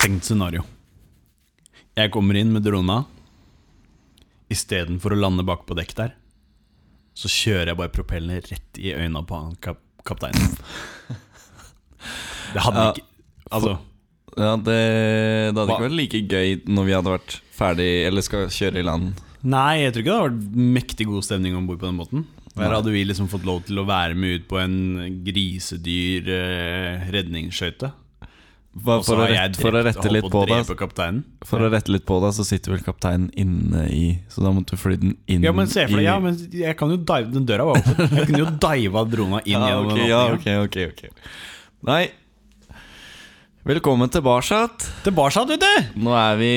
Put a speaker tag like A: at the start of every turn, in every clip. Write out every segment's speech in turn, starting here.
A: Tenkt scenario. Jeg kommer inn med drona. Istedenfor å lande bak på dekk der, så kjører jeg bare propellene rett i øynene på han kap kapteinen. Det hadde
B: Ja,
A: ikke Altså,
B: Ja, det, det hadde
A: Hva?
B: ikke vært like gøy når vi hadde vært ferdig Eller skal kjøre i land.
A: nei, jeg tror ikke det hadde vært mektig god stemning om bord på den båten. Der hadde vi liksom fått lov til å være med ut på en grisedyr eh, redningsskøyte.
B: Bare
A: Og så
B: for, å
A: har jeg
B: rette, for å
A: drept
B: rette
A: og
B: litt
A: holdt
B: på
A: å
B: det
A: drepe kapteinen.
B: For å rette litt på deg, så sitter vel kapteinen inne i Så da måtte du fly den inn
A: Ja, men se for
B: i
A: deg, ja, men jeg kan jo dive Den døra var åpen. Jeg kunne jo diva drona inn
B: ja,
A: gjennom
B: ok,
A: den
B: ja,
A: åpningen.
B: ok, ok, ok. Nei. Velkommen tilbake.
A: Tilbake, vet du!
B: Nå er vi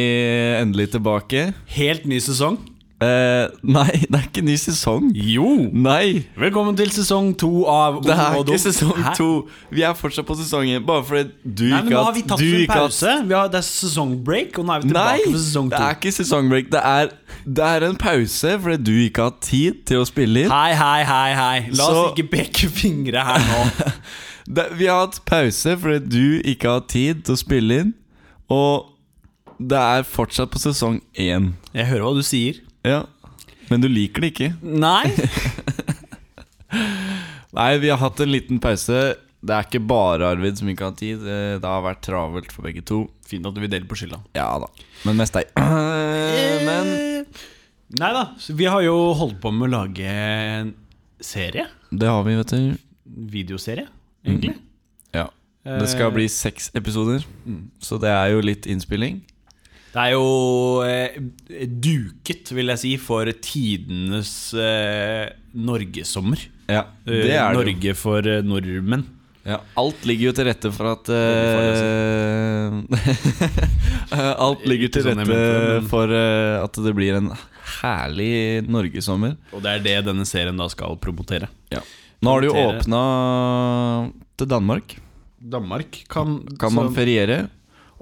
B: endelig tilbake.
A: Helt ny sesong.
B: Eh, nei, det er ikke ny sesong.
A: Jo!
B: Nei!
A: Velkommen til sesong to av
B: Det er
A: Ung og
B: ikke
A: Dum.
B: sesong
A: Hæ?
B: to. Vi er fortsatt på sesongen, bare fordi du
A: Nei, men nå
B: ikke har-
A: har vi tatt
B: du
A: en
B: ikke har-
A: pause. Vi har, det er sesongbreak, og nå er vi tilbake
B: Nei,
A: for sesong
B: det
A: to.
B: er ikke sesongbreak. Det er, det er en pause fordi du ikke har tid til å spille inn.
A: Hei, hei, hei, hei. La
B: Så-
A: oss ikke peke fingre her nå.
B: Det, vi har hatt pause fordi du ikke har tid til å spille inn. Og det er fortsatt på sesong én.
A: Jeg hører hva du sier.
B: Ja. Men du liker det ikke.
A: Nei.
B: Nei, vi har hatt en liten pause. Det er ikke bare Arvid som ikke har tid. Eh, Det har vært travelt for begge to.
A: Fint at du vil dele på skylda.
B: Ja da. Men mest deg. Eh, Men
A: Nei da. Vi har jo holdt på med å lage en serie.
B: det har vi, vet du.
A: Videoserie, egentlig.
B: Mm. Ja. Det skal
A: Eh, Mm.
B: bli seks episoder, så det er jo litt innspilling.
A: Det er jo eh, duket, vil jeg si, for tidenes eh, Norgesommer.
B: Ja,
A: Eh,
B: det er det jo.
A: Norge for eh, nordmenn.
B: Ja, alt ligger jo til rette for at eh, Alt ligger til
A: Ikke sånn jeg mente,
B: rette
A: men-
B: for eh, at det blir en herlig norgessommer.
A: Og det er det denne serien da skal promotere.
B: Ja. Nå har du jo
A: Kommentere.
B: åpna til Danmark.
A: Danmark kan,
B: Kan man feriere.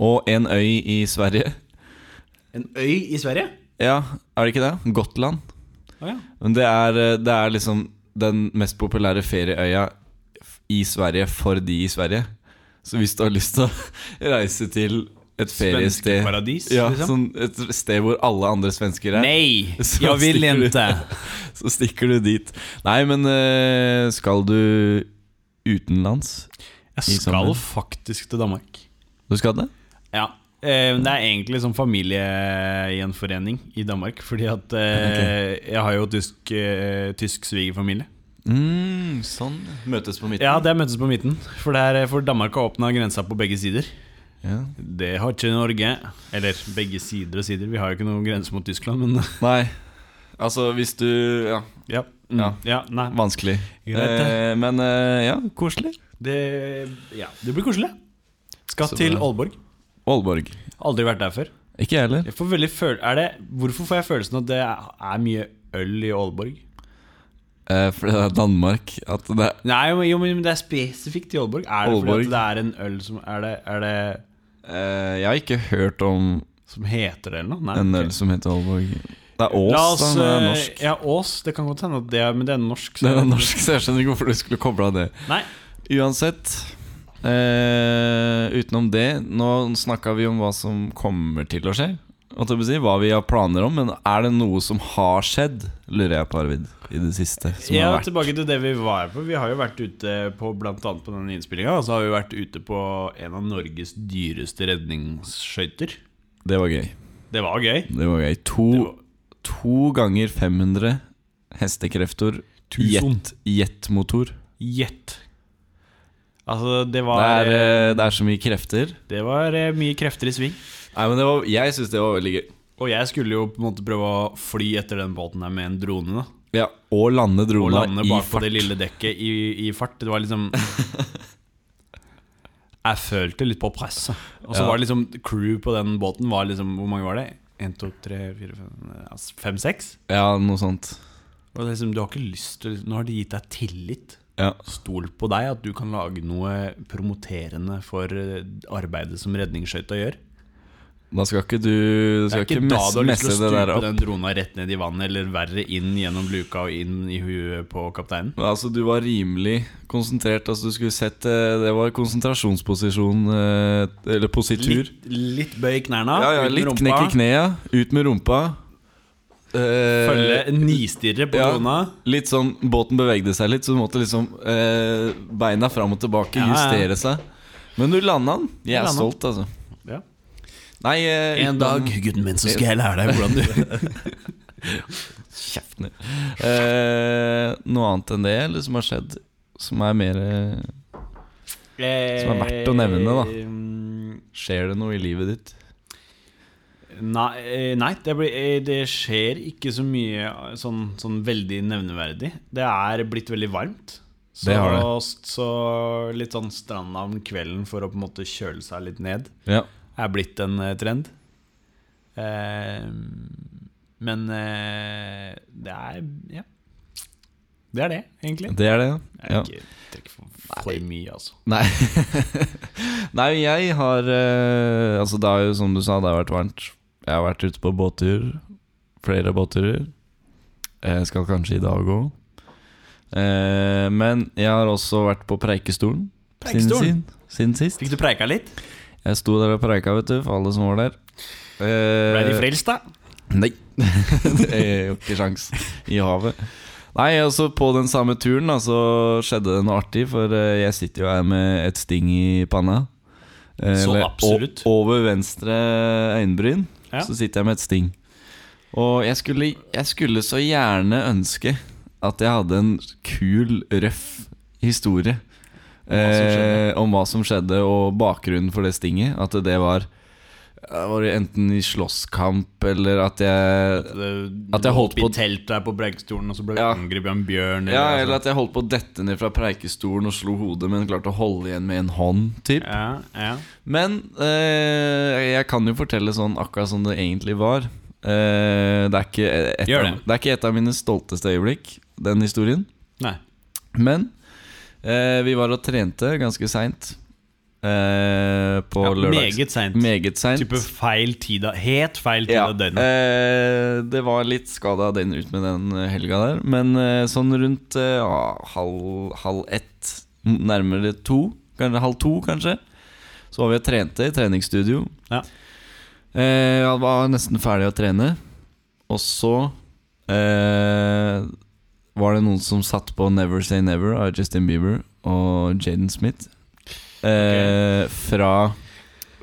B: Og en øy i Sverige.
A: En øy i Sverige?
B: Ja, er det ikke det? Gotland.
A: Å ja.
B: Men det er, eh, det er liksom den mest populære ferieøya f- i Sverige for de i Sverige. Så hvis du har lyst til å reise til et feriested
A: Svenskeparadis,
B: ja,
A: liksom?
B: sånn Et sted hvor alle andre svensker er,
A: Nei!
B: Så
A: Jeg vil
B: stikker du.
A: ikke!
B: så stikker du dit. Nei, men eh, skal du utenlands?
A: Jeg skal
B: sommer.
A: faktisk til Danmark.
B: Du skal det?
A: Ja. Eh, men det er egentlig sånn familiegjenforening i Danmark. Fordi at eh, jeg har jo tysk, eh, tysk svigerfamilie.
B: Mm, sånn. Møtes på midten.
A: Ja, det er møtes på midten. For, det er, eh, for Danmark har åpna grensa på begge sider.
B: Ja.
A: Det har ikke Norge. Eller begge sider og sider. Vi har jo ikke noen grense mot Tyskland, men
B: Nei, altså hvis du Ja,
A: ja. Mm, ja.
B: Ja.
A: nei.
B: vanskelig.
A: Greit, det.
B: Eh, men eh, ja, koselig.
A: Det, ja, det blir koselig. Skal
B: Så
A: til
B: bra.
A: Aalborg.
B: Aalborg.
A: Aldri vært der før.
B: Ikke jeg heller.
A: Jeg får veldig føl er det, hvorfor får jeg følelsen at det er mye øl i Aalborg?
B: Eh, for det er Danmark at det er,
A: Nei, jo, jo, men det er spesifikt i Aalborg. Er det fordi
B: Aalborg.
A: at det er en øl som Er det, er det
B: eh, Jeg har ikke hørt om
A: som heter det, eller noe? Nei,
B: en
A: ok.
B: øl som heter Aalborg Det er
A: La
B: Ås,
A: oss,
B: da, men det er
A: eh,
B: norsk
A: Ja, Ås. Det kan godt hende at det er Men det er norsk. så-
B: Det er norsk, så jeg skjønner ikke hvorfor du skulle koble av det
A: Nei.
B: Uansett eh, Utenom det Nå snakket vi om hva som kommer til å skje Holdt jeg på å si, Hva vi har planer om Men er det noe som har skjedd Lurer jeg på Arvid I det siste som
A: Ja,
B: har vært
A: tilbake til det vi var på. Vi har jo vært ute på blant annet på denne innspillinga. Og så har vi vært ute på en av Norges dyreste redningsskøyter.
B: Det var gøy
A: Det var gøy.
B: Det var gøy To,
A: Det var-
B: to ganger 500 hestekrefter
A: Tusen.
B: jet- Jetmotor
A: Gjett. Altså, det var
B: Det
A: det,
B: er, eh, det er så mye krefter.
A: var eh, mye krefter i sving.
B: Nei, men det var, Jeg syns det var veldig gøy.
A: Og jeg skulle jo på en måte prøve å fly etter den båten her med en drone. da
B: Ja, Og lande
A: Og
B: drona
A: lande
B: i
A: bak på
B: fart.
A: det lille dekket i, i fart. Det var liksom Jeg følte litt på presset. Og så
B: Ja.
A: var det liksom crew på den båten var liksom Hvor mange var det? En, to, tre, fire, fem, altså fem seks?
B: Ja, noe sånt.
A: Og det er liksom, du har ikke lyst til Nå har de gitt deg tillit.
B: Ja,
A: Stol på deg at du kan lage noe promoterende for eh, arbeidet som redningsskøyta gjør.
B: Da skal ikke du Du
A: Det
B: skal
A: er ikke
B: ikke,
A: da du
B: messe,
A: har lyst til å
B: messe det der
A: stupe
B: opp.
A: den drona rett ned i vannet, eller verre inn gjennom luka og inn i huet på kapteinen.
B: Altså, du var rimelig konsentrert. Altså, du skulle sett eh, Det var konsentrasjonsposisjon, eh, eller positur.
A: Litt, litt bøy i knærne,
B: ja, ja,
A: ut med
B: litt knekk i kneet, ut med rumpa. Eh,
A: følge nistirre på
B: ja.
A: drona.
B: Litt sånn, Båten bevegde seg litt, så du måtte liksom eh, beina fram og tilbake
A: Ja, ja.
B: justere seg. Men du landa den. Jeg er
A: Landa.
B: stolt, altså.
A: Ja.
B: Nei, eh,
A: En
B: utenom-
A: dag, gutten min, så skal jeg lære deg hvordan du
B: Kjeften din. Eh, noe annet enn det, eller som har skjedd, som er mer eh, Som er verdt å
A: nevne,
B: Skjer det noe i livet ditt?
A: Nei, eh, nei det, blir, eh, det skjer ikke så mye eh, sånn, sånn veldig nevneverdig. Det er blitt veldig varmt. Så,
B: Det har det.
A: så litt sånn stranda om kvelden for å på en måte kjøle seg litt ned
B: Ja.
A: er blitt en eh, trend. Eh, men eh, det er Ja. Det er det, egentlig.
B: Det er det,
A: Jeg
B: ja.
A: er ikke trekker for, for mye, altså.
B: Nei. Nei, jeg har eh, Altså, det har jo, som du sa, det har vært varmt. Jeg har vært ute på båttur. Flere båtturer. Jeg skal kanskje i dag òg. men jeg har også vært på Preikestolen.
A: Preikestolen?
B: Siden, sin- siden sist.
A: Fikk du preika litt?
B: Jeg sto der og preika, vet du, for alle som var der. Eh,
A: Ble de frelst, da?
B: Nei. det er jo ikke sjans i havet. Nei, altså på den samme turen da, så skjedde det noe artig, for eh, jeg sitter jo her med et sting i panna. Eh,
A: Så
B: eller o-
A: absolutt.
B: Over venstre øyenbryn
A: Ja.
B: så sitter jeg med et sting. Og jeg skulle, jeg skulle så gjerne ønske at jeg hadde en kul, røff historie
A: Hva som
B: eh,
A: skjedde.
B: om hva som skjedde, og bakgrunnen for det stinget. At det var, var det enten i slåsskamp, eller at jeg At jeg holdt på-
A: I telt der på Breikestolen, og så ble du
B: Ja.
A: angrepet av en bjørn.
B: Ja,
A: noe
B: eller altså-
A: sånt.
B: at jeg holdt på å dette ned fra preikestolen og slo hodet, men klarte å holde igjen med en hånd, typ.
A: ja, ja.
B: Men eh, jeg kan jo fortelle sånn akkurat som det egentlig var. Eh, det, er ikke et
A: Gjør
B: av,
A: det.
B: det er ikke et av mine stolteste øyeblikk, den historien.
A: Nei.
B: Men eh, vi var og trente ganske seint. Eh, på
A: Ja,
B: lørdags...
A: meget seint.
B: Meget seint.
A: Type feil tid av Helt feil tid
B: Ja,
A: av døgnet.
B: eh, det var litt skada den ut med den eh, helga der. Men eh, sånn rundt eh, ja, halv, halv ett, m- nærmere to, kanskje halv to kanskje, så var vi og trente i treningsstudio.
A: Ja.
B: Eh, jeg var nesten ferdig å trene, og så eh, var det noen som satt på Never Say Never av Justin Bieber og Jaden Smith eh, fra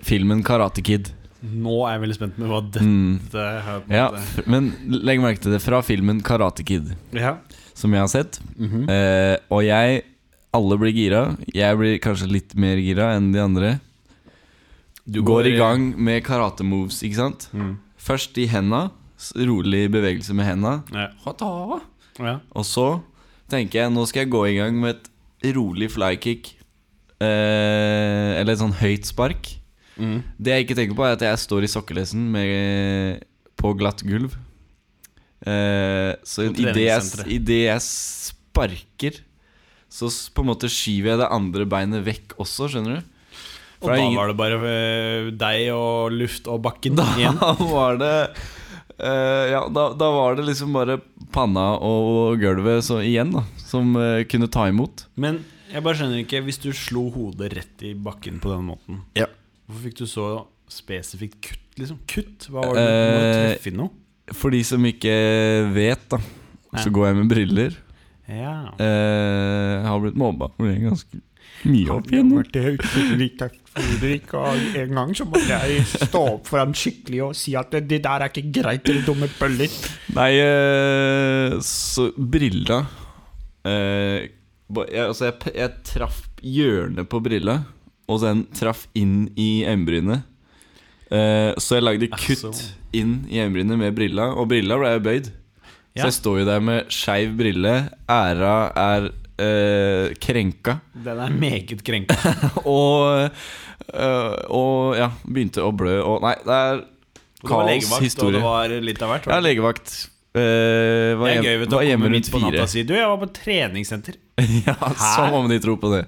B: filmen Karate Kid.
A: Nå er jeg veldig spent med hva dette
B: Mm.
A: har på en
B: Ja,
A: måte-
B: f- men legg merke til det fra filmen Karate Kid,
A: ja.
B: som jeg har sett.
A: Mhm.
B: Eh, og jeg Alle blir gira. Jeg blir kanskje litt mer gira enn de andre. Du går, i gang med karate-moves, ikke sant?
A: Mm.
B: Først i henda. s- Rolig bevegelse med henda.
A: Ja.
B: Og
A: Ja.
B: så tenker jeg nå skal jeg gå i gang med et rolig flykick. Eh, eller et sånn høyt spark.
A: Mm.
B: Det jeg ikke tenker på, er at jeg står i sokkelesten med, på glatt gulv. Eh, så
A: På
B: idet jeg,
A: treningssenteret.
B: i det jeg sparker, så s- på en måte skyver jeg det andre beinet vekk også, skjønner du?
A: Og da var det bare eh, deg og luft og bakken igjen.
B: Da var det eh, Ja, da, da var det liksom bare panna og gulvet så igjen, da, som eh, kunne ta imot.
A: Men jeg bare skjønner ikke, hvis du slo hodet rett i bakken på den måten,
B: Ja.
A: hvorfor fikk du så spesifikt kutt, liksom? Kutt? Hva var det du måtte
B: Eh,
A: treffe i noe?
B: For de som ikke vet, da,
A: Ja.
B: så går jeg med briller.
A: Ja.
B: Eh, jeg har blitt mobba for det ganske mye opp igjennom.
C: En gang så måtte jeg stå opp for ham skikkelig og si at det der er ikke greit, dere dumme bøller.
B: Nei, eh, så brilla eh, ba- jeg, Altså, jeg, p- jeg traff hjørnet på brilla, og den traff inn i øyenbrynet. Eh, så jeg lagde kutt
A: Altså.
B: inn i øyenbrynet med brilla, og brilla ble jeg bøyd.
A: Ja.
B: Så jeg står jo der med skeiv brille, æra er eh, krenka,
A: Den er meget krenka.
B: og, eh, og ja, begynte å blø, og nei, det er
A: Og Det var
B: kaos
A: legevakt, og
B: historie.
A: det var litt av hvert.
B: Ja,
A: var det?
B: legevakt. Eh, var
A: Det er
B: hjem-
A: gøy vet du,
B: var
A: å
B: hjemme
A: komme
B: rundt
A: midt på natta
B: fire.
A: og si Du, jeg var på treningssenter.
B: ja,
A: Hæ?
B: som om de tror på det.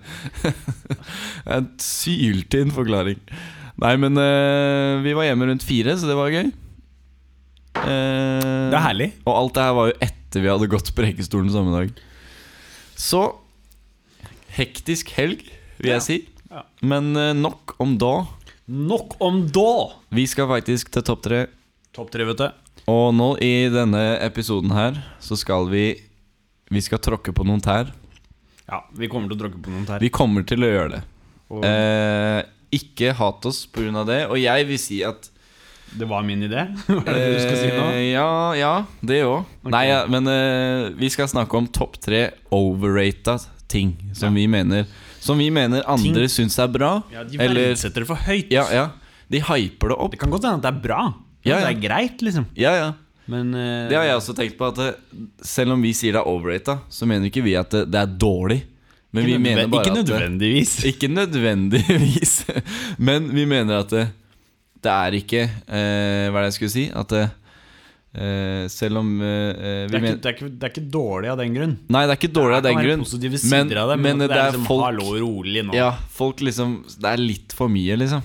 B: en syltynn forklaring. Nei, men eh, vi var hjemme rundt fire, så det var gøy. Eh,
A: Det er herlig.
B: Og alt det her var jo etter vi hadde gått på rekestolen samme dag. Så hektisk helg, vil jeg si.
A: Ja.
B: Men eh, nok om da.
A: Nok om da!
B: Vi skal faktisk til topp tre.
A: Topp tre, vet du.
B: Og nå i denne episoden her så skal vi Vi skal tråkke på noen tær.
A: Ja, vi kommer til å tråkke på noen tær.
B: Vi kommer til å gjøre det.
A: Og
B: Eh, ikke hat oss pga. det. Og jeg vil si at
A: det var min idé. Hva er det du skal si nå?
B: Eh, Ja, ja, det òg. Nei, ja, men eh, vi skal snakke om topp tre overrata ting som vi mener Som vi mener andre syns er bra.
A: Ja, De
B: eller
A: verdsetter det for høyt.
B: Ja, ja. De hyper det
A: Det
B: opp.
A: kan godt hende at det er bra.
B: Ja,
A: Det
B: ja.
A: er greit, liksom.
B: Ja, ja.
A: Men eh,
B: Det har jeg også tenkt på. At eh, selv om vi sier det er overrata, så mener ikke vi at eh, det, det er dårlig. Men vi
A: ikke nødve-
B: mener bare
A: Ikke
B: at eh, det,
A: nødvendigvis.
B: Ikke nødvendigvis. Men vi mener at det, det er ikke eh, Hva er det jeg skulle si? At det, eh, selv om eh,
A: Det
B: vi
A: er, ikke,
B: mener
A: det, er ikke, det er ikke dårlig av den grunn.
B: Nei, det er ikke dårlig av
A: Det
B: den
A: kan være
B: grunn.
A: positive
B: Men,
A: sider av det, men,
B: men
A: at det er, liksom,
B: folk,
A: hallo, rolig nå.
B: ja, folk liksom Det er litt for mye, liksom.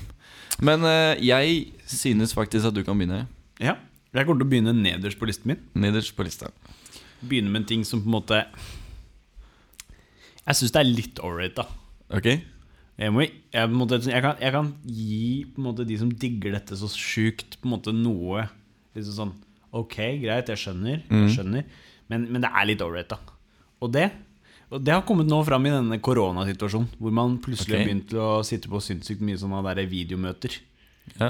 B: Men eh, jeg synes faktisk at du kan begynne
A: Ja. Jeg kommer til å begynne nederst på listen min.
B: nederst på lista.
A: Begynne med en ting som på en måte Jeg syns det er litt overrated, da.
B: Ok?
A: Jeg, må, jeg, på en måte, jeg, kan, jeg kan gi på en måte, de som digger dette så sjukt, på en måte noe liksom sånn Ok, greit, jeg skjønner,
B: Mm.
A: jeg skjønner men, men det er litt overrated. Og det og det har kommet nå fram i denne koronasituasjonen, hvor man plutselig har
B: Ok.
A: begynt å sitte på sinnssykt mye sånne der videomøter.
B: Ja.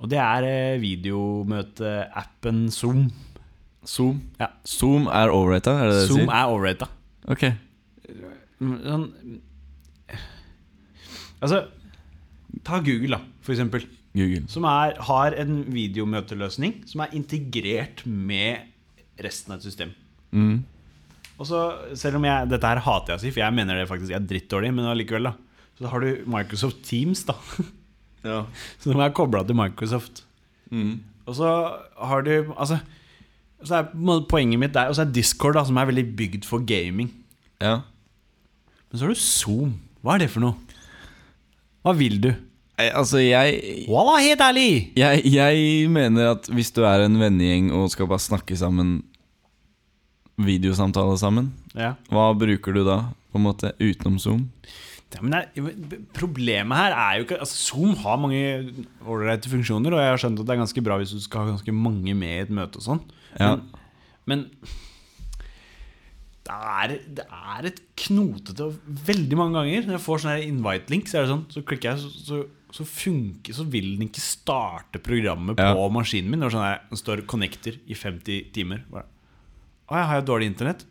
A: Og det er eh, videomøteappen Zoom.
B: Zoom.
A: Ja.
B: Zoom er overrata, er det det du
A: Zoom
B: sier?
A: er overrated.
B: Ok.
A: Mm, Sånn Altså, ta Google, da, for eksempel.
B: Google.
A: Som er, har en videomøteløsning som er integrert med resten av et system.
B: Mm.
A: Og så, selv om jeg, Dette her hater jeg å si, for jeg mener det faktisk er drittdårlig, men allikevel, da. Så da har du Microsoft Teams, da.
B: Ja.
A: Som er kobla til Microsoft.
B: Mm.
A: Og så har du Altså, så er på en måte poenget mitt der Og så er Discord, da, som er veldig bygd for gaming.
B: ja.
A: Men så har du Zoom. Hva er det for noe? Hva vil du?
B: Nei, Altså, jeg
A: Wallah, helt ærlig!
B: jeg, jeg mener at hvis du er en vennegjeng og skal bare snakke sammen Videosamtale sammen,
A: Ja.
B: hva bruker du da, på en måte, utenom Zoom?
A: Ja, men det, er- problemet her er jo ikke altså Zoom har mange ålreite funksjoner, og jeg har skjønt at det er ganske bra hvis du skal ha ganske mange med i et møte og sånn.
B: Ja.
A: Men, men det, er, det er et knotete og Veldig mange ganger når jeg får sånn her invite-link, så er det sånn, så klikker jeg, så, så, så funker Så vil den ikke starte programmet på
B: Ja.
A: maskinen min. Når sånn her, det står 'connector' i 50 timer. Bare, Å, jeg har jo dårlig internett.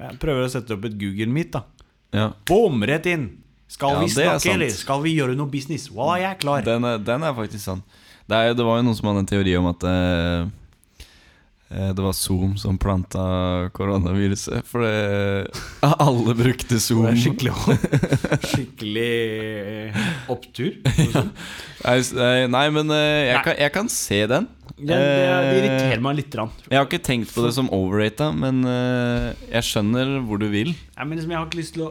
A: Jeg prøver å sette opp et Google Meet, da.
B: Ja.
A: Boom, rett inn! Skal
B: Ja,
A: vi
B: det er
A: snakke,
B: sant.
A: eller skal vi gjøre noe business? Voilà, jeg er klar.
B: Den er, den er faktisk sann. Det, er, jo- det var jo noen som hadde en teori om at eh, eh, det var Zoom som planta koronaviruset. For det, alle brukte
A: Det
B: Zoom.
A: er skikkelig, skikkelig eh, opptur. Den,
B: Nei, s- nei, nei, men eh, jeg,
A: Nei.
B: Kan, jeg kan se den.
A: det, det irriterer meg litt. grann.
B: Jeg har ikke tenkt på det som overrata, men eh, jeg skjønner hvor du vil.
A: Nei, men liksom, jeg har ikke lyst til å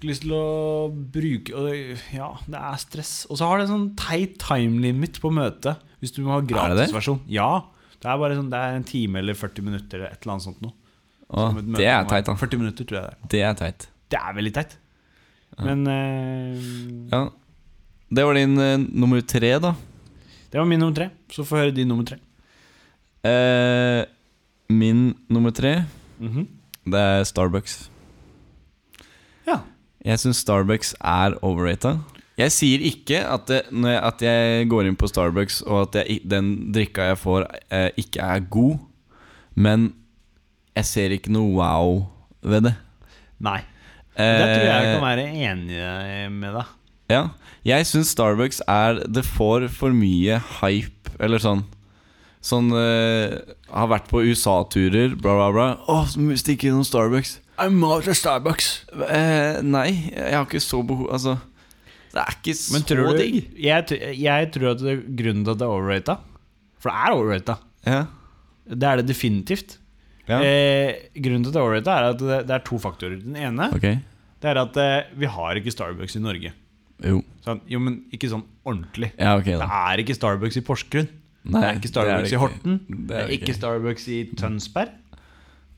A: ikke lyst til å bruke og det- Ja, det er stress. Og så har det en sånn teit time limit på møtet. Hvis du må ha gratisversjon. Ja. Det er bare sånn, det er en time eller 40 minutter eller et eller annet sånt noe.
B: Å,
A: Som et møte
B: det er
A: må være.
B: teit, da.
A: 40 minutter, tror jeg det er.
B: Det er teit.
A: Det er veldig teit. Men eh,
B: Ja. Det var din eh, nummer tre, da.
A: Det var min nummer tre. Så få høre din nummer tre.
B: Eh, min nummer tre, Mhm. det er Starbucks.
A: Ja.
B: Jeg syns Starbucks er overrata. Jeg sier ikke at, det, når jeg, at jeg går inn på Starbucks og at jeg, i- den drikka jeg får, eh, ikke er god, men jeg ser ikke noe wow ved det.
A: Nei.
B: Eh,
A: Det tror jeg kan være enig eh, med deg.
B: Ja. Jeg syns Starbucks er Det får for mye hype, eller sånn. Sånn eh, Har vært på USA-turer, bla, bla, bla. Å, så må vi stikke innom Starbucks.
A: I'm out of Starbucks.
B: Eh, nei, jeg har ikke så behov Altså, det er ikke så
A: Men tror du,
B: digg.
A: jeg, tr- jeg tror at det, grunnen til at det er overrata For det er overrata.
B: Ja.
A: Det er det definitivt.
B: ja.
A: Eh, grunnen til at det er overrata, er at det, det er to faktorer. Den ene
B: Ok.
A: det er at eh, vi har ikke Starbucks i Norge.
B: Jo.
A: Sånn, jo, men ikke sånn ordentlig.
B: Ja, ok,
A: Det
B: da.
A: er ikke Starbucks i Porsgrunn.
B: Nei,
A: det er ikke Starbucks
B: det er det
A: i Horten.
B: ikke. Det er
A: Det er
B: det
A: ikke
B: ikke.
A: Starbucks i Tønsberg.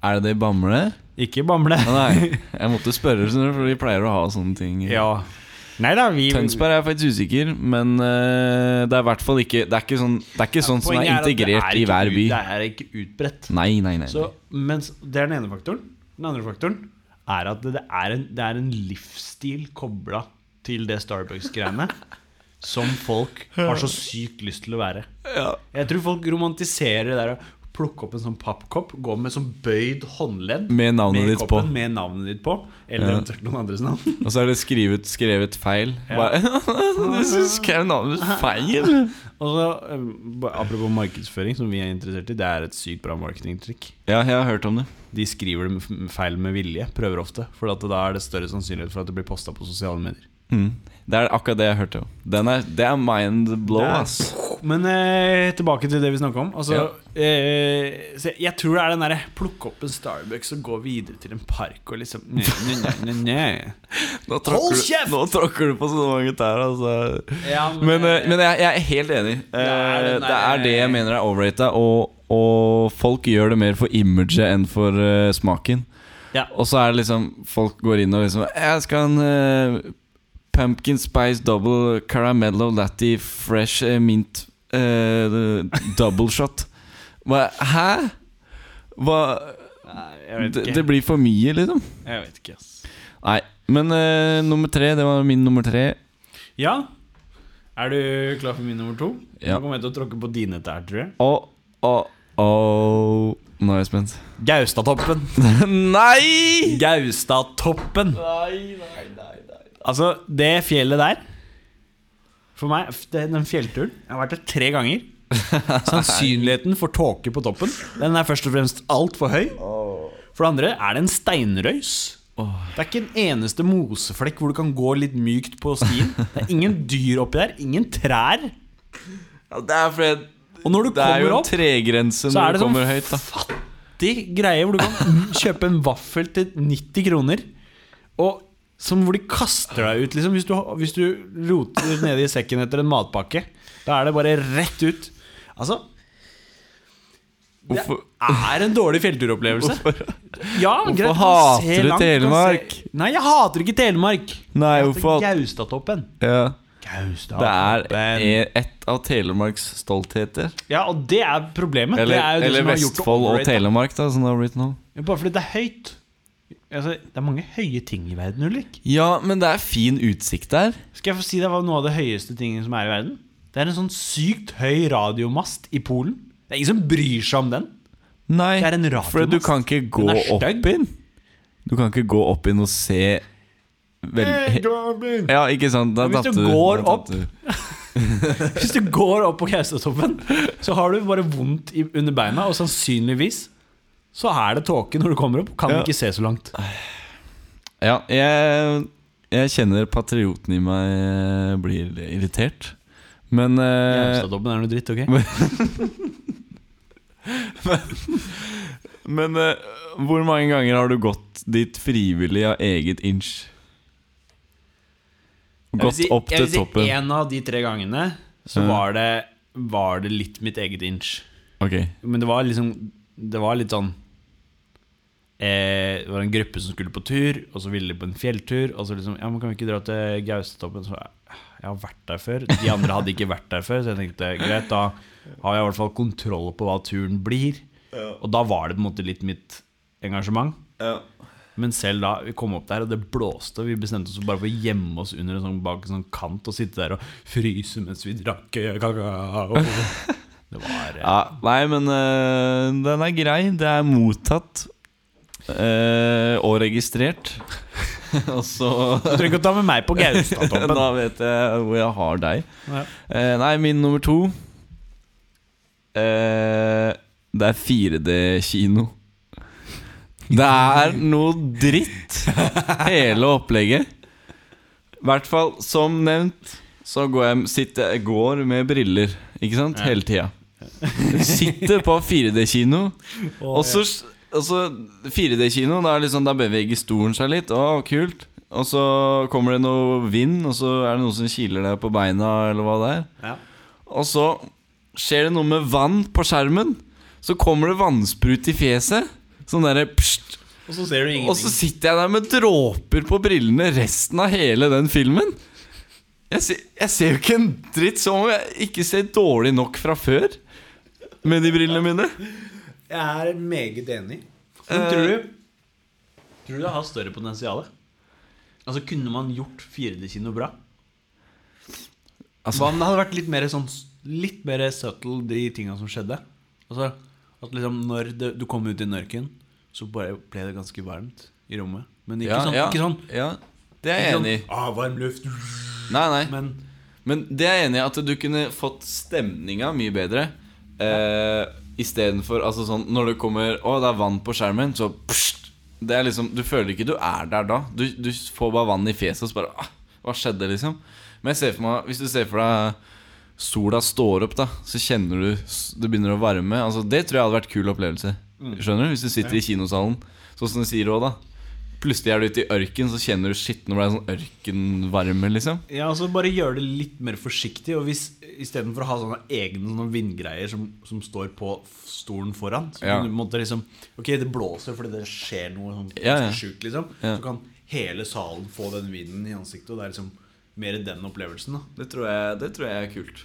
B: Er det det i Bamble?
A: Ikke i Bamble.
B: Å, Nei, jeg måtte spørre, skjønner du, for vi pleier å ha sånne ting.
A: Ja. Nei da, vi
B: Tønsberg er jeg faktisk usikker, men eh, det er i hvert fall ikke Det er ikke sånn, det er ikke sånn som er
A: Poenget at det
B: integrert
A: er
B: i
A: ikke
B: hver
A: ut-
B: by. Mm.
A: Det er ikke utbredt.
B: Nei, nei, nei.
A: Så, mens det er den ene faktoren. Den andre faktoren er at det, det, er, en, det er en livsstil kobla til det Starbucks-greiene som folk har så sykt lyst til å være. Jeg tror folk romantiserer det der å plukke opp en sånn pappkopp, gå med sånn bøyd håndledd
B: Med navnet ditt på.
A: koppen, Med navnet ditt på. Eller eventuelt noen andres navn.
B: Og så er det skrevet, skrevet feil. Bare, du synes skrev navnet feil!
A: Og så, eh, ba- Apropos markedsføring, som vi er interessert i, det er et sykt bra marketingtrykk.
B: Ja, jeg har hørt om det.
A: De skriver det med- feil med vilje, prøver ofte. For at da er det større sannsynlighet for at det blir posta på sosiale medier.
B: Mm. Det er akkurat det jeg hørte. jo. Den er, det er mind blow,
A: Det er-
B: ass.
A: Men eh, tilbake til det vi snakka om. Altså, eh, så jeg- jeg tror det er den derre plukke opp en Starbucks og gå videre til en park og liksom Nei, nei, nei, nei, nei.
B: Nå
A: Hold
B: tråkker,
A: kjeft!
B: du, nå tråkker du på så mange tær, altså.
A: Ja, men,
B: Men, eh, men jeg, jeg er helt enig. Eh,
A: er den
B: Det
A: der-
B: er det jeg mener er overrata. Og, og folk gjør det mer for imaget enn for eh, smaken.
A: Ja.
B: Og så er det liksom Folk går inn og liksom Jeg skal ha en eh, pumpkin spice double caramello latte fresh eh, mint eh, double shot. Hva, hæ? Hva
A: Nei, jeg vet
B: det,
A: ikke.
B: det blir for mye, liksom.
A: Jeg vet ikke, ass.
B: Nei. Men eh, nummer tre, det var min nummer tre.
A: Ja. Er du klar for min nummer to?
B: Ja.
A: Nå kommer jeg til å tråkke på dine tær, tror jeg.
B: Å, å, å Nå er jeg spent.
A: Gaustatoppen.
B: Nei!
A: Gaustatoppen. Altså, det fjellet der For meg, f- det- den fjellturen Jeg har vært der tre ganger. Sannsynligheten for tåke på toppen Den er først og fremst altfor høy. For det andre er det en steinrøys. Det er ikke en eneste moseflekk hvor du kan gå litt mykt på stien. Det er ingen dyr oppi der, ingen trær.
B: det er fordi
A: Og når du
B: det er
A: kommer
B: jo en
A: opp, så
B: tregrense
A: er
B: når
A: det
B: du
A: sånn
B: kommer høyt. da
A: fattig greie hvor du kan kjøpe en vaffel til 90 kroner, og som hvor de kaster deg ut, liksom. Hvis du, hvis du roter nede i sekken etter en matpakke, da er det bare rett ut. Altså, det
B: Hvorfor-
A: er en dårlig fjellturopplevelse. Ja,
B: Hvorfor
A: greit, du kan
B: hater
A: se
B: du
A: langt, kan
B: Telemark?
A: se- Nei, jeg hater ikke Telemark.
B: Nei,
A: Jeg hater
B: hvorfor
A: Gaustatoppen.
B: ja, Det
A: Gaustatoppen.
B: er ett av Telemarks stoltheter.
A: Ja, og det er problemet. det
B: Eller,
A: er jo det
B: eller
A: som har gjort det
B: Vestfold og
A: overrated.
B: Telemark, da, som det har blitt nå.
A: Ja, Bare fordi det er høyt. Altså, det er mange høye ting i verden, Ulrik.
B: Ja, men det er fin utsikt der.
A: Skal jeg få si deg hva noe av det høyeste tingene som er i verden? Det er en sånn sykt høy radiomast i Polen. Det er ingen som bryr seg om den.
B: Nei,
A: Det er en
B: for du
A: radiomast.
B: kan ikke gå
A: Den er
B: opp
A: stygg.
B: inn. Du kan ikke gå opp inn og se vel...
A: Hvis
B: Ja, ikke sant? Da
A: Men hvis
B: datt
A: du
B: du
A: går
B: da datt
A: opp-
B: du.
A: du går opp på Gaustatoppen, så har du bare vondt i, under beina, og sannsynligvis så er det tåke når du kommer opp, og kan
B: Ja. Eh,
A: ikke se så langt.
B: Ja, jeg, jeg kjenner patrioten i meg eh, blir irritert. Men eh,
A: Gaustatoppen er noe dritt, ok?
B: Men eh, hvor mange ganger har du gått dit frivillig av eget inch? Gått opp til toppen?
A: En av de tre gangene så
B: Ja.
A: var det, var det litt mitt eget inch.
B: Ok.
A: Men det var liksom Det var litt sånn eh, Det var en gruppe som skulle på tur, og så ville de på en fjelltur. Og så liksom Ja, men kan vi ikke dra til Gaustatoppen? Så jeg, jeg har vært der før. De andre hadde ikke vært der før, så jeg tenkte greit, da har jeg i hvert fall kontroll på hva turen blir. Og da var det på en måte litt mitt engasjement. Men selv da, vi kom opp der, og det blåste. Og vi bestemte oss for bare for å gjemme oss under en sånn, bak en sånn kant og sitte der og fryse mens vi drakk eh, kakao. Det var eh,
B: Ja, nei, men eh, den er grei. Det er mottatt eh, og registrert. og så
A: Du trenger ikke å ta med meg på Gaustatoppen.
B: Da vet jeg hvor jeg har deg.
A: Ja.
B: Eh, nei, min nummer to eh, Det er 4D-kino. Det er noe dritt, hele opplegget. I hvert fall, som nevnt, så går jeg sitter, går med briller, ikke sant,
A: Ja.
B: hele tida. Sitter på 4D-kino. Og så, og så 4D-kino, da, er det liksom, da beveger stolen seg litt. Å, kult. Og så kommer det noe vind, og så er det noen som kiler deg på beina, eller hva det er.
A: Ja.
B: Og så skjer det noe med vann på skjermen. Så kommer det vannsprut i fjeset. Sånn derre pst.
A: Og så ser du
B: Og så
A: ingenting.
B: sitter jeg der med dråper på brillene resten av hele den filmen. Jeg ser, jeg ser jo ikke en dritt som om jeg ikke ser dårlig nok fra før med de brillene mine.
A: Jeg er meget enig.
B: Eh.
A: Men tror du Tror du det har større potensial? Altså, kunne man gjort 4D-kino bra? Hva
B: Altså,
A: om det hadde vært litt mer sånn Litt mer subtle, de tinga som skjedde? Altså, at liksom når det, du kom ut i mørken, så bare ble det ganske varmt i rommet. Men ikke sånn.
B: ja,
A: Ikke sånn,
B: ja, det er
A: ikke
B: jeg
A: sånn
B: enig i.
A: ah, varm luft
B: Nei, nei.
A: Men
B: Men det er jeg enig i at du kunne fått stemninga mye bedre. Eh, Istedenfor altså sånn når det kommer Å, det er vann på skjermen, så pst, det er liksom, Du føler ikke du er der da. Du, du får bare vann i fjeset, og så bare ah, Hva skjedde, liksom? Men jeg ser for meg, hvis du ser for deg sola står opp, da, så kjenner du s- det begynner å varme. Altså Det tror jeg hadde vært kul opplevelse. Skjønner du? Hvis du sitter i kinosalen, sånn som du sier òg, da. Plutselig er du ute i ørken, så kjenner du shit når det er sånn ørkenvarme, liksom.
A: Ja, altså bare gjør det litt mer forsiktig. Og hvis istedenfor å ha sånne egne sånne vindgreier som, som står på f- stolen foran, så
B: Ja.
A: kan du måtte liksom Ok, det blåser fordi det skjer noe sånn
B: Ja, ja.
A: sjukt, liksom.
B: Ja.
A: Så kan hele salen få den vinden i ansiktet, og det er liksom mer den opplevelsen, da.
B: Det tror jeg, det tror jeg er kult.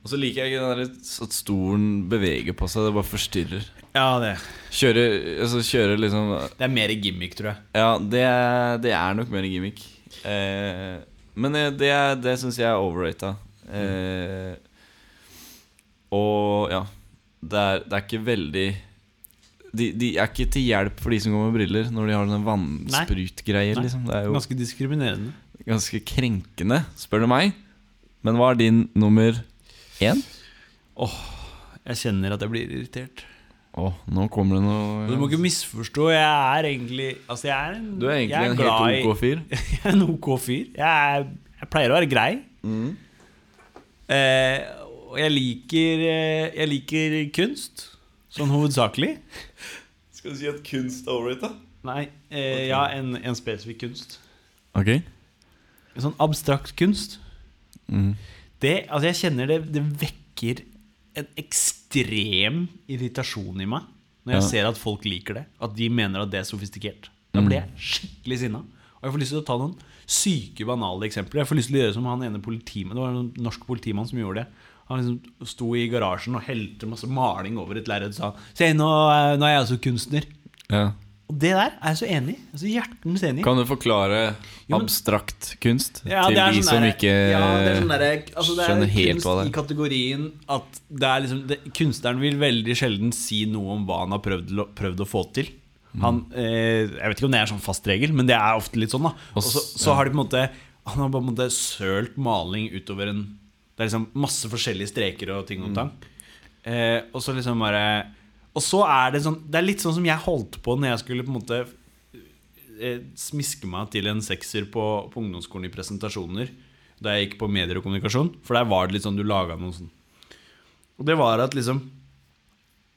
B: Og så liker jeg ikke den der at stolen beveger på seg. Det bare forstyrrer.
A: Ja, det.
B: Kjøre, altså kjøre liksom
A: Det er mer gimmick, tror jeg.
B: Ja, det, er- det er nok mer gimmick. Eh, men eh, det, er- det syns jeg er overrata. Eh, og ja. Det er, det er ikke veldig de, de er ikke til hjelp for de som går med briller, når de har sånne vannsprutgreier.
A: Nei.
B: Liksom. Det er jo
A: Ganske diskriminerende.
B: ganske krenkende, spør du meg. Men hva er din nummer én?
A: Jeg kjenner at jeg blir irritert.
B: Å, nå kommer det noe
A: Du må ikke misforstå. Jeg er egentlig Altså, jeg er en
B: Du er egentlig
A: jeg
B: en
A: glad
B: helt
A: i-
B: ok fyr.
A: Jeg er en OK fyr. Jeg, er, jeg pleier å være grei.
B: Mm.
A: Eh, og jeg liker, eh, jeg liker kunst, sånn hovedsakelig.
B: Skal du si at kunst er overrata?
A: Nei, eh, ja, en, en spesifikk kunst.
B: Ok.
A: En sånn abstrakt kunst.
B: Mm.
A: Det, altså jeg kjenner det, det vekker en ekstrem irritasjon i meg når jeg
B: Ja.
A: ser at folk liker det. At de mener at det er sofistikert. Da
B: Mm.
A: blir jeg skikkelig sinna. Og jeg får lyst til å ta noen syke, banale eksempler. Jeg får lyst til å gjøre som han ene politimannen Det var en norsk politimann som gjorde det. Han liksom sto i garasjen og helte masse maling over et lerret og sa Se, nå, er- nå er jeg også kunstner.
B: Ja.
A: Og det der er jeg så enig i. Jeg er Så hjertens enig i.
B: Kan du forklare
A: Jo, men-
B: abstrakt kunst
A: Ja,
B: til
A: det er
B: de
A: sånn
B: som
A: der-
B: ikke
A: ja, det er sånn der, altså det er
B: skjønner helt
A: kunst
B: hva
A: i
B: det er?
A: kategorien at det er liksom, det, kunstneren vil veldig sjelden si noe om hva han har prøvd, å- prøvd å få til.
B: Mm.
A: Han, eh, jeg vet ikke om det er sånn fast regel, men det er ofte litt sånn. da Og så,
B: s-
A: så har de på en måte Han har på en måte sølt maling utover en Det er liksom masse forskjellige streker og
B: Mm.
A: ting og tang. Eh, og så liksom bare Og så er det sånn Det er litt sånn som jeg holdt på når jeg skulle på en måte eh, smiske meg til en sekser på, på ungdomsskolen i presentasjoner da jeg gikk på medier og kommunikasjon. For der var det litt sånn du laga noe sånn. Og det var at liksom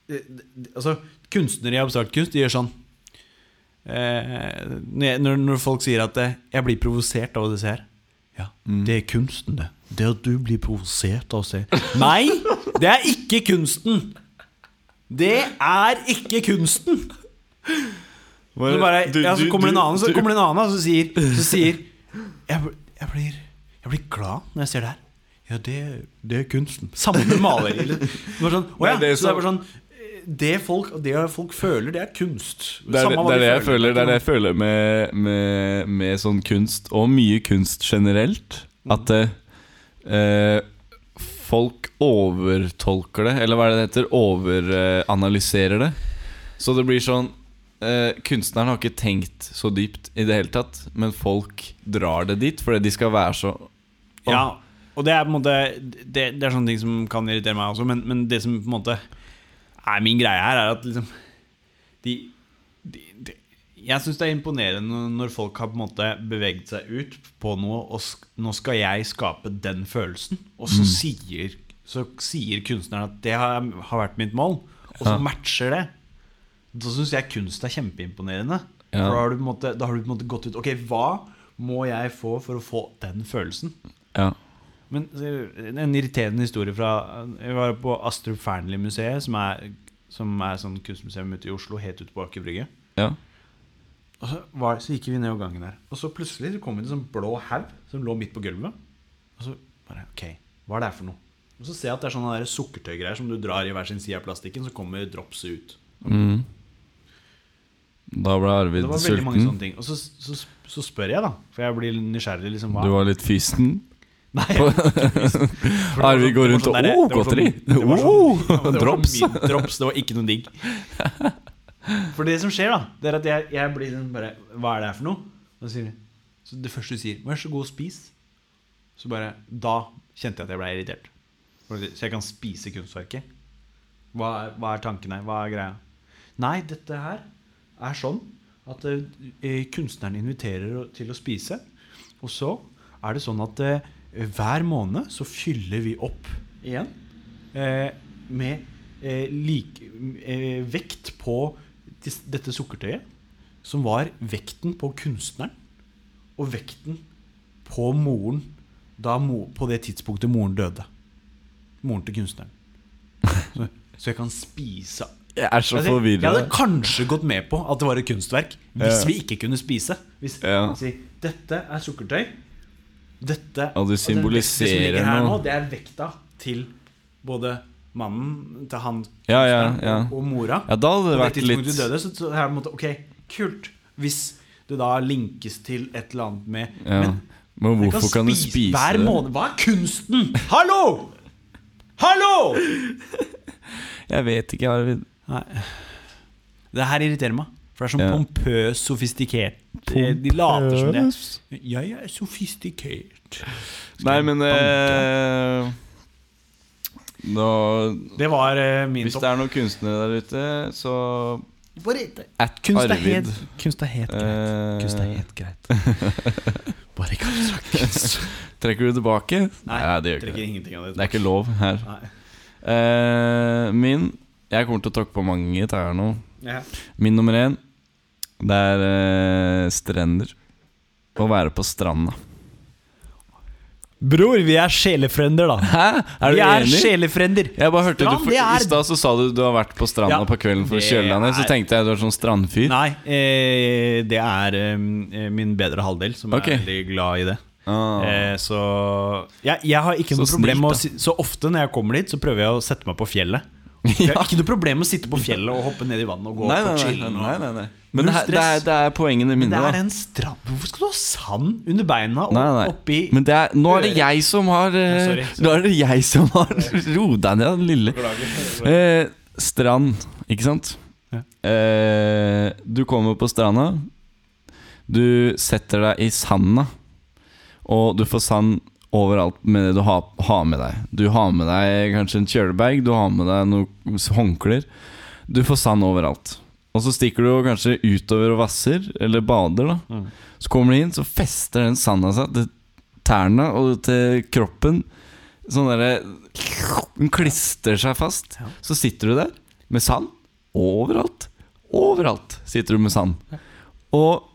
A: eh, d- Altså, kunstnere i abstrakt kunst, de gjør sånn eh, når, jeg, når, når folk sier at eh, 'jeg blir provosert av å se her'. Ja, det er kunsten, det. Det at du blir provosert av å se. Nei, det er ikke kunsten! Det er ikke kunsten! Så bare, ja, så kommer det en annen Så kommer det en annen og så sier, så sier jeg, bl- jeg, blir, jeg blir glad når jeg ser det her Ja, det, det er kunsten Sammen med maler eller- Det var sånn, «Å ja,
B: Nei, det er
A: så det er bare sånn eh, det folk, det folk føler, det er kunst
B: Det er det,
A: Samme hva
B: det, er
A: de
B: det jeg føler, det er det jeg føler med, med, med sånn kunst, og mye kunst generelt.
A: Mm.
B: At eh, eh, folk overtolker det, eller hva er det det heter? Overanalyserer det. Så det blir sånn eh, Kunstneren har ikke tenkt så dypt i det hele tatt, men folk drar det dit fordi de skal være så
A: Ja, og det er på en måte Det, det er sånne ting som kan irritere meg også, men, men det som på en måte er min greie her, er at liksom De, de, de Jeg syns det er imponerende når folk har på en måte beveget seg ut på noe, og sk, nå skal jeg skape den følelsen, og
B: Mm.
A: så sier så sier kunstneren at det har, har vært mitt mål, og så
B: Ja.
A: matcher det. Da syns jeg kunst er kjempeimponerende.
B: Ja.
A: For da har, du på en måte, da har du på en måte gått ut Ok, hva må jeg få for å få den følelsen?
B: Ja.
A: Men eh, en irriterende historie fra Jeg var på Astrup Fearnley-museet, som er, som er sånn kunstmuseum ute i Oslo, helt ute på Aker Brygge.
B: ja.
A: Og så, var, så gikk vi ned gangen der. Og så plutselig så kom det en sånn blå haug som lå midt på gulvet. Og så bare OK, hva er det her for noe? Og så ser jeg at det er sånne der sukkertøygreier som du drar i hver sin side av plastikken, så kommer dropset ut.
B: Mm. Da ble
A: Det
B: Arvid
A: var veldig mange
B: sulten.
A: sånne ting. Og så, så, så spør jeg, da. For jeg blir nysgjerrig. liksom hva?
B: Du var litt fysen.
A: Nei, jeg var ikke fysen. For det var
B: Arvid
A: sånn- det
B: går
A: var
B: rundt
A: sånn
B: og,
A: derre-
B: «Åh,
A: det var sånn-
B: godteri!
A: det var sånn-
B: Åh,
A: det var sånn
B: drops!»
A: mye drops! Det var ikke noe digg. For det som skjer, da, det er at jeg, jeg blir sånn bare Hva er det her for noe? Og så sier de- så det første du sier, vær så god og spis. Så bare Da kjente jeg at jeg ble irritert. For det- Så jeg kan spise kunstverket. Hva er, hva er tankene? Hva er greia? Nei, dette her er sånn at eh, kunstneren inviterer å- til å spise. Og så er det sånn at eh, hver måned så fyller vi opp igjen eh, med eh, lik, eh, vekt på dis- dette sukkertøyet, som var vekten på kunstneren og vekten på moren da mo, på det tidspunktet moren døde. Moren til kunstneren. Så, så jeg kan spise
B: Jeg er så
A: Altså, jeg hadde
B: forvirret.
A: kanskje gått med på at det var et kunstverk hvis
B: Ja.
A: vi ikke kunne spise. Hvis
B: Ja.
A: si, Dette er sukkertøy. Dette
B: Og du
A: den vekten som
B: symboliserer
A: ligger her
B: noe.
A: nå, Det er vekta til både mannen, til han
B: Ja, ja, ja.
A: og, og mora.
B: Ja, da hadde det
A: På
B: vært
A: tidspunktet
B: litt-
A: du døde, så, så her på en måte, Ok, kult. Hvis det da linkes til et eller annet med
B: Ja.
A: Men
B: Men
A: jeg
B: hvorfor kan du spise
A: hver
B: det?
A: måned? Hva er kunsten?! Hallo! Hallo!
B: Jeg vet ikke, Arvid.
A: Nei. Det her irriterer meg. For det er sånn
B: Ja.
A: pompøs, sofistikert De de later som det. Jeg er sofistikert.
B: Nei, men eh, Nå
A: Det var eh, min
B: Hvis
A: topp.
B: det er noen kunstnere der ute, så
A: Bare-
B: At
A: Kunst er
B: Arvid. Eh.
A: helt Kunst er helt greit. Kunst er helt greit. Bare ikke abstrakt kunst.
B: Trekker du tilbake?
A: Nei,
B: det gjør
A: trekker
B: ikke det.
A: ingenting av det.
B: Det er ikke lov her.
A: Nei.
B: Eh, min Jeg kommer til å tråkke på mange tær nå.
A: Ja.
B: Min nummer én, det er eh, strender. Å være på stranda.
A: Bror, vi er sjelefrender, da.
B: Hæ? Er du
A: vi er
B: enig?
A: sjelefrender.
B: Jeg bare hørte
A: Strand,
B: du, for,
A: det
B: I
A: er-
B: stad så sa du du har vært på stranda
A: Ja,
B: på kvelden for å
A: det
B: kjøle deg ned. Så
A: er-
B: tenkte jeg du var sånn strandfyr.
A: Nei, eh, det er eh, min bedre halvdel som
B: Ok.
A: er veldig glad i det.
B: Ah.
A: Eh, så jeg, jeg har ikke
B: Så
A: noe problem med å si,
B: snilt,
A: Så ofte når jeg kommer dit, så prøver jeg å sette meg på fjellet. Jeg har ikke noe problem med å sitte på fjellet og hoppe ned i vannet og gå
B: Nei,
A: opp
B: nei,
A: og
B: nei,
A: chille.
B: nei,
A: og-
B: nei, nei. Men det,
A: Null
B: er- det,
A: stress.
B: er, det er poengene mine,
A: Det er
B: da.
A: en stram Hvorfor skal du ha sand under beina og
B: Nei, nei.
A: oppi
B: Men det er, nå er det
A: Øret.
B: jeg som har eh,
A: Ja, sorry, sorry. Eh.
B: Nå er det jeg som har Ro deg ned, den lille. Eh, strand, ikke sant?
A: Ja.
B: Eh, du kommer på stranda, du setter deg i sanda, og du får sand overalt med det du har, har med deg. Du har med deg kanskje en kjølebag, du har med deg noen håndklær. Du får sand overalt. Og så stikker du jo kanskje utover og vasser, eller bader, da.
A: Mm.
B: Så kommer du inn, så fester den sanda seg til tærne og til kroppen. Sånn derre Den klistrer seg fast.
A: Ja.
B: Så sitter du der med sand overalt. Overalt sitter du med sand. Og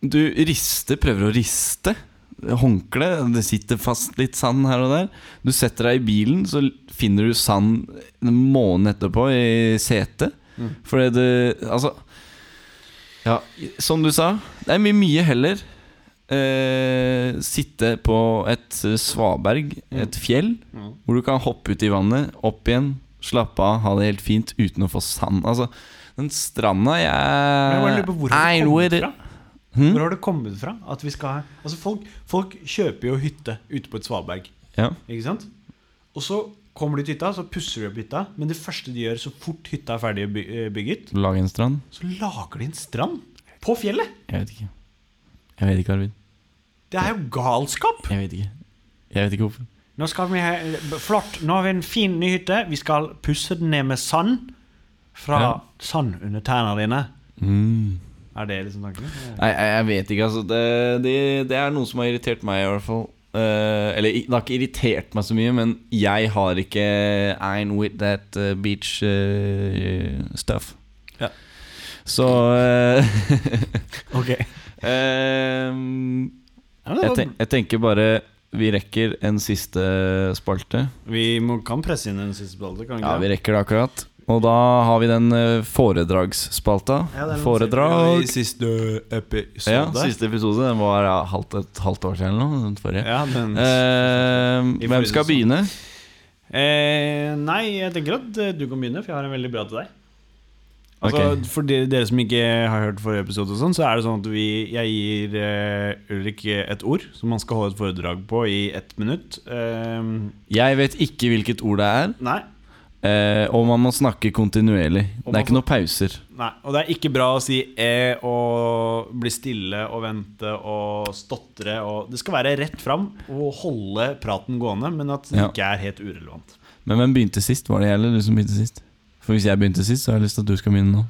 B: du rister, prøver å riste håndkleet. Det sitter fast litt sand her og der. Du setter deg i bilen, så finner du sand en måned etterpå i setet.
A: Mm.
B: Fordi det Altså Ja, som du sa, det er mye, mye heller eh, sitte på et eh, svaberg, et fjell,
A: Mm.
B: hvor du kan hoppe ut i vannet, opp igjen, slappe av, ha det helt fint uten å få sand. Altså, den stranda jeg
A: Men jeg bare lurer på Hvor har det
B: I'm with
A: kommet
B: it.
A: fra?
B: Hmm?
A: Hvor har det kommet fra at vi skal ha Altså, folk, folk kjøper jo hytte ute på et svaberg.
B: Ja.
A: Ikke sant? Og så kommer de til hytta, så pusser de opp hytta. Men det første de gjør så fort hytta er ferdig by- eh, bygget,
B: Lage en strand?
A: så lager de en strand på fjellet!
B: Jeg vet ikke. Jeg vet ikke, Arvid.
A: Det er jo galskap!
B: Jeg vet ikke. Jeg vet ikke hvorfor.
A: Nå skal vi ha Flott, nå har vi en fin ny hytte. Vi skal pusse den ned med sand. Fra
B: Ja.
A: sand under tærne dine.
B: Mm.
A: Er det liksom tanken?
B: Nei, jeg, jeg vet ikke, altså. Det, det, det er noe som har irritert meg, i hvert fall. Eh, eller i- det har ikke irritert meg så mye, men jeg har ikke I'm with that eh, beach eh, stuff.
A: Ja.
B: Så eh,
A: Ok.
B: Ehm, Jeg, ten jeg tenker bare vi rekker en siste spalte.
A: Vi må, kan presse inn en siste spalte, kan vi
B: Ja,
A: ikke?
B: vi
A: det?
B: rekker det akkurat. Og da har vi den eh, foredragsspalta.
A: Ja, den-
B: Foredrag.
D: siste episode.
B: Ja, siste episode. Den var ja, halvt, et halvt år siden eller noe. Den forrige.
A: Ja, den.
B: Eh, hvem skal
A: forrige
B: begynne?
A: Eh, nei, jeg tenker at eh, du kan begynne, for jeg har en veldig bra til deg. Altså,
B: Ok.
A: For de, dere som ikke har hørt forrige episode, og sånn, så er det sånn at vi, jeg gir eh, Ulrik et ord som han skal holde et foredrag på i ett minutt. Eh,
B: Jeg vet ikke hvilket ord det er,
A: nei,
B: eh, og man må snakke kontinuerlig. Det er ikke noen pauser.
A: nei. Og det er ikke bra å si eh og bli stille og vente og stotre og Det skal være rett fram og holde praten gående, men at det
B: Ja.
A: ikke er helt urelevant.
B: Men hvem begynte sist? Var det jeg eller du som begynte sist? For hvis jeg begynte sist, så har jeg lyst til at du skal begynne nå.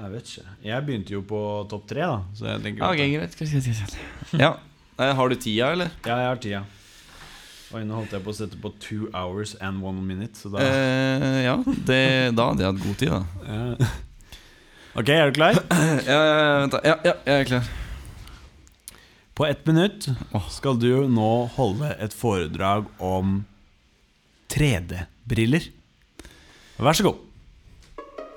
A: Jeg vet ikke. Jeg begynte jo på topp tre, da. Så jeg tenker
B: greit. Ja. Eh, Har du tida, eller?
A: Ja, jeg har tida. Oi, nå holdt jeg på å sette på two hours and one minute, så da
B: Eh, ja, det, da hadde jeg hatt god tid, da.
A: Ja. Ok, er du klar?
B: Ja, ja, vent da. Ja, ja, jeg er klar.
A: På ett minutt
B: Åh.
A: skal du nå holde et foredrag om 3D-briller. Vær så god.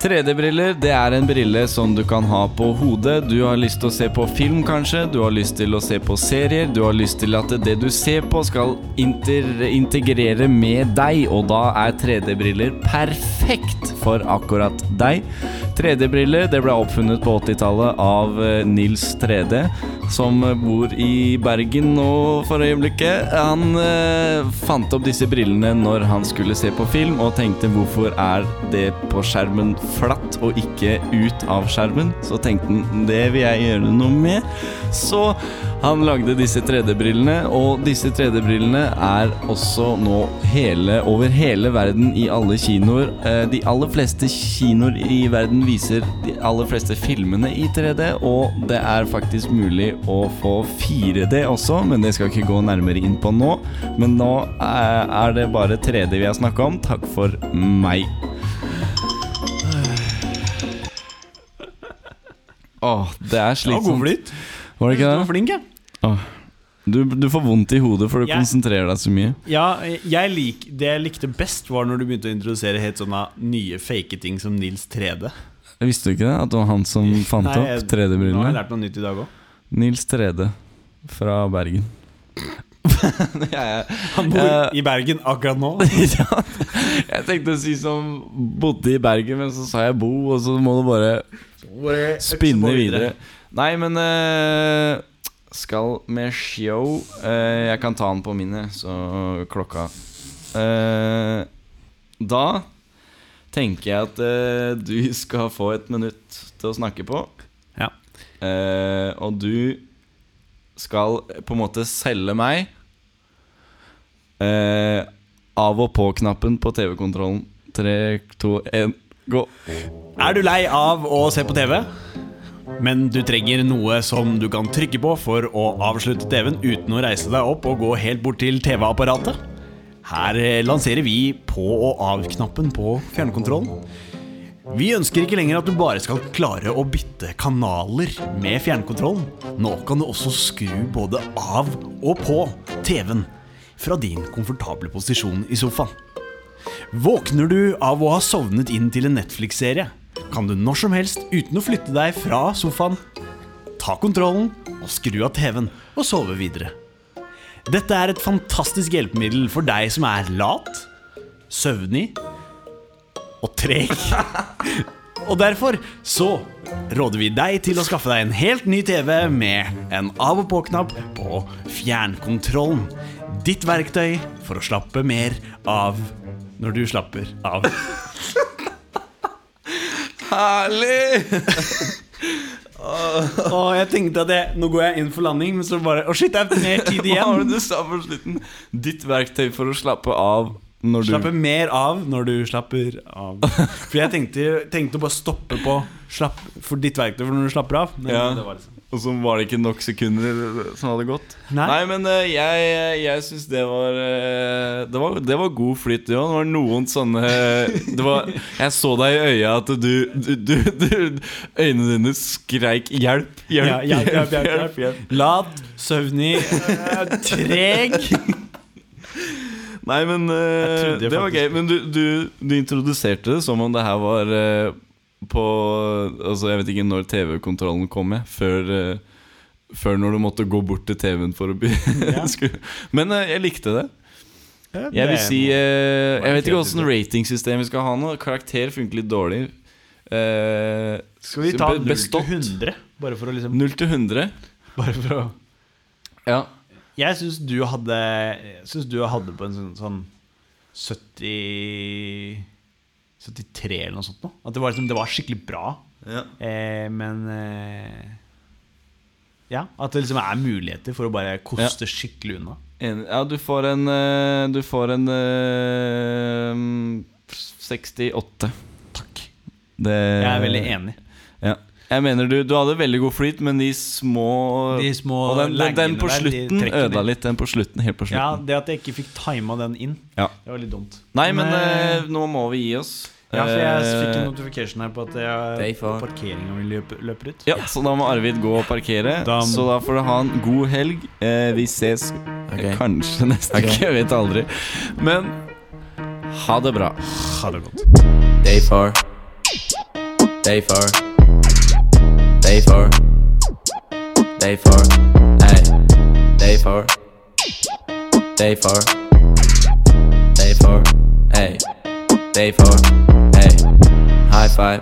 B: 3D-briller det er en brille som du kan ha på hodet. Du har lyst til å se på film, kanskje. Du har lyst til å se på serier. Du har lyst til at det du ser på, skal inter integrere med deg. Og da er 3D-briller perfekt for akkurat deg. 3D-briller det ble oppfunnet på 80-tallet av eh, Nils 3D, som eh, bor i Bergen nå for øyeblikket. Han eh, fant opp disse brillene når han skulle se på film, og tenkte hvorfor er det på skjermen flatt og ikke ut av skjermen? Så tenkte han det vil jeg gjøre noe med. Så han lagde disse 3D-brillene, og disse 3D-brillene er også nå hele, over hele verden i alle kinoer. Eh, De aller fleste kinoer i verden viser de aller fleste filmene i 3D, og det er faktisk mulig å få 4D også, men det skal ikke gå nærmere inn på nå. Men nå eh, er det bare 3D vi har snakka om. Takk for meg. Åh, det er slitsomt.
A: flyt.
B: Var det
A: Du
B: ikke
A: var
B: det?
A: flink, jeg.
B: Du, du får vondt i hodet for du
A: Jeg-
B: konsentrerer deg så mye.
A: Ja, jeg lik, det jeg likte best, var når du begynte å introdusere helt sånne nye fake ting som Nils 3D.
B: Jeg visste du ikke det? At det var han som fant
A: Nei, jeg- Nå
B: opp
A: har jeg
B: 3D-brillene?
A: lært noe nytt i dag òg.
B: Nils 3D fra Bergen. jeg,
A: Han bor
B: Eh,
A: i Bergen akkurat nå.
B: ja, jeg tenkte å si som bodde i Bergen, men så sa jeg bo, og så må du bare spinne videre. Nei, men eh, skal med show eh, Jeg kan ta den på min, jeg, så klokka Eh, Da tenker jeg at eh, du skal få et minutt til å snakke på.
A: Ja.
B: Eh, og du skal på en måte selge meg eh, av og på-knappen på TV-kontrollen. Tre, to, én, gå.
A: Er du lei av å se på TV? Men du trenger noe som du kan trykke på for å avslutte TV-en uten å reise deg opp og gå helt bort til TV-apparatet? Her eh, lanserer vi på og av-knappen på fjernkontrollen. Vi ønsker ikke lenger at du bare skal klare å bytte kanaler med fjernkontrollen. Nå kan du også skru både av og på TV-en fra din komfortable posisjon i sofaen. Våkner du av å ha sovnet inn til en Netflix-serie? Kan du når som helst, uten å flytte deg fra sofaen, ta kontrollen og skru av TV-en og sove videre. Dette er et fantastisk hjelpemiddel for deg som er lat, søvnig og treg. Og derfor så råder vi deg til å skaffe deg en helt ny TV med en av og på-knapp på fjernkontrollen. Ditt verktøy for å slappe mer av når du slapper av.
B: Herlig!
A: Og jeg tenkte at jeg, nå går jeg inn for landing, men så bare Å, shit, det er mer tid
B: Hva var
A: igjen.
B: det du sa på slutten? Ditt verktøy for å slappe av når du
A: Slappe mer av når du slapper av. For jeg tenkte, tenkte å bare stoppe på slapp, for ditt verktøy for når du slapper av. Men
B: Ja.
A: det var liksom
B: Og så var det ikke nok sekunder som hadde gått.
A: Nei.
B: men eh, jeg, jeg syns det var eh, Det var, det var god flyt, det òg. Det var noen sånne eh, det var, Jeg så deg i øya at du, du, du, du Øynene dine skreik 'hjelp, hjelp,
A: Ja, hjelp, hjelp, hjelp, hjelp, Lat, søvnig, eh, treg.
B: Nei, men eh,
A: Jeg trodde
B: det var
A: faktisk-
B: gøy. Men du, du, du introduserte det som om det her var eh, på Altså, jeg vet ikke når TV-kontrollen kom, jeg. Før, eh, før når du måtte gå bort til TV-en for å by
A: Ja.
B: skru- Men eh, jeg likte det. Jeg
A: Det
B: vil
A: er
B: si
A: noe.
B: eh, Jeg vet ikke
A: kreativt,
B: åssen ratingsystem vi skal ha nå. Karakter funker litt dårlig. Eh,
A: Skal vi ta
B: be-
A: 0
B: bestått.
A: til 100? Bare for å liksom
B: 0 til 100.
A: Bare for å
B: Ja.
A: Jeg syns du hadde jeg synes du hadde på en sånn, sånn 70 73 eller noe sånt nå. At det var, liksom, det var skikkelig bra.
B: Ja.
A: Eh, men eh, Ja. At det liksom er muligheter for å bare koste skikkelig unna.
B: Enig. Ja, du får en eh, Du får en eh, 68.
A: Takk.
B: Det,
A: Jeg er
B: Eh,
A: veldig enig.
B: Ja. Jeg mener du, du hadde veldig god flyt, men de små
A: De små
B: Og den, den, den på
A: laggene der, de
B: slutten
A: trekker
B: ødela
A: ned.
B: litt. Den på slutten, helt på
A: Ja,
B: slutten.
A: Det at jeg ikke fikk tima den inn,
B: Ja.
A: det var litt dumt.
B: Nei, men
A: Men-
B: eh, nå må vi gi oss.
A: Ja, for jeg
B: Eh,
A: fikk en notification her på at
B: Day
A: jeg-
B: for-
A: parkeringa mi løper, løper ut.
B: ja, Så da må Arvid gå og parkere.
A: Da må-
B: Så da får du ha en god helg. Eh, vi ses eh, kanskje neste gang. Jeg vet aldri. Men ha det bra.
A: Ha det godt.
E: Day four. Day four. Day four. Day four. Hey. Day four. Day four. Day four. Hey. Day four. Hey. High five.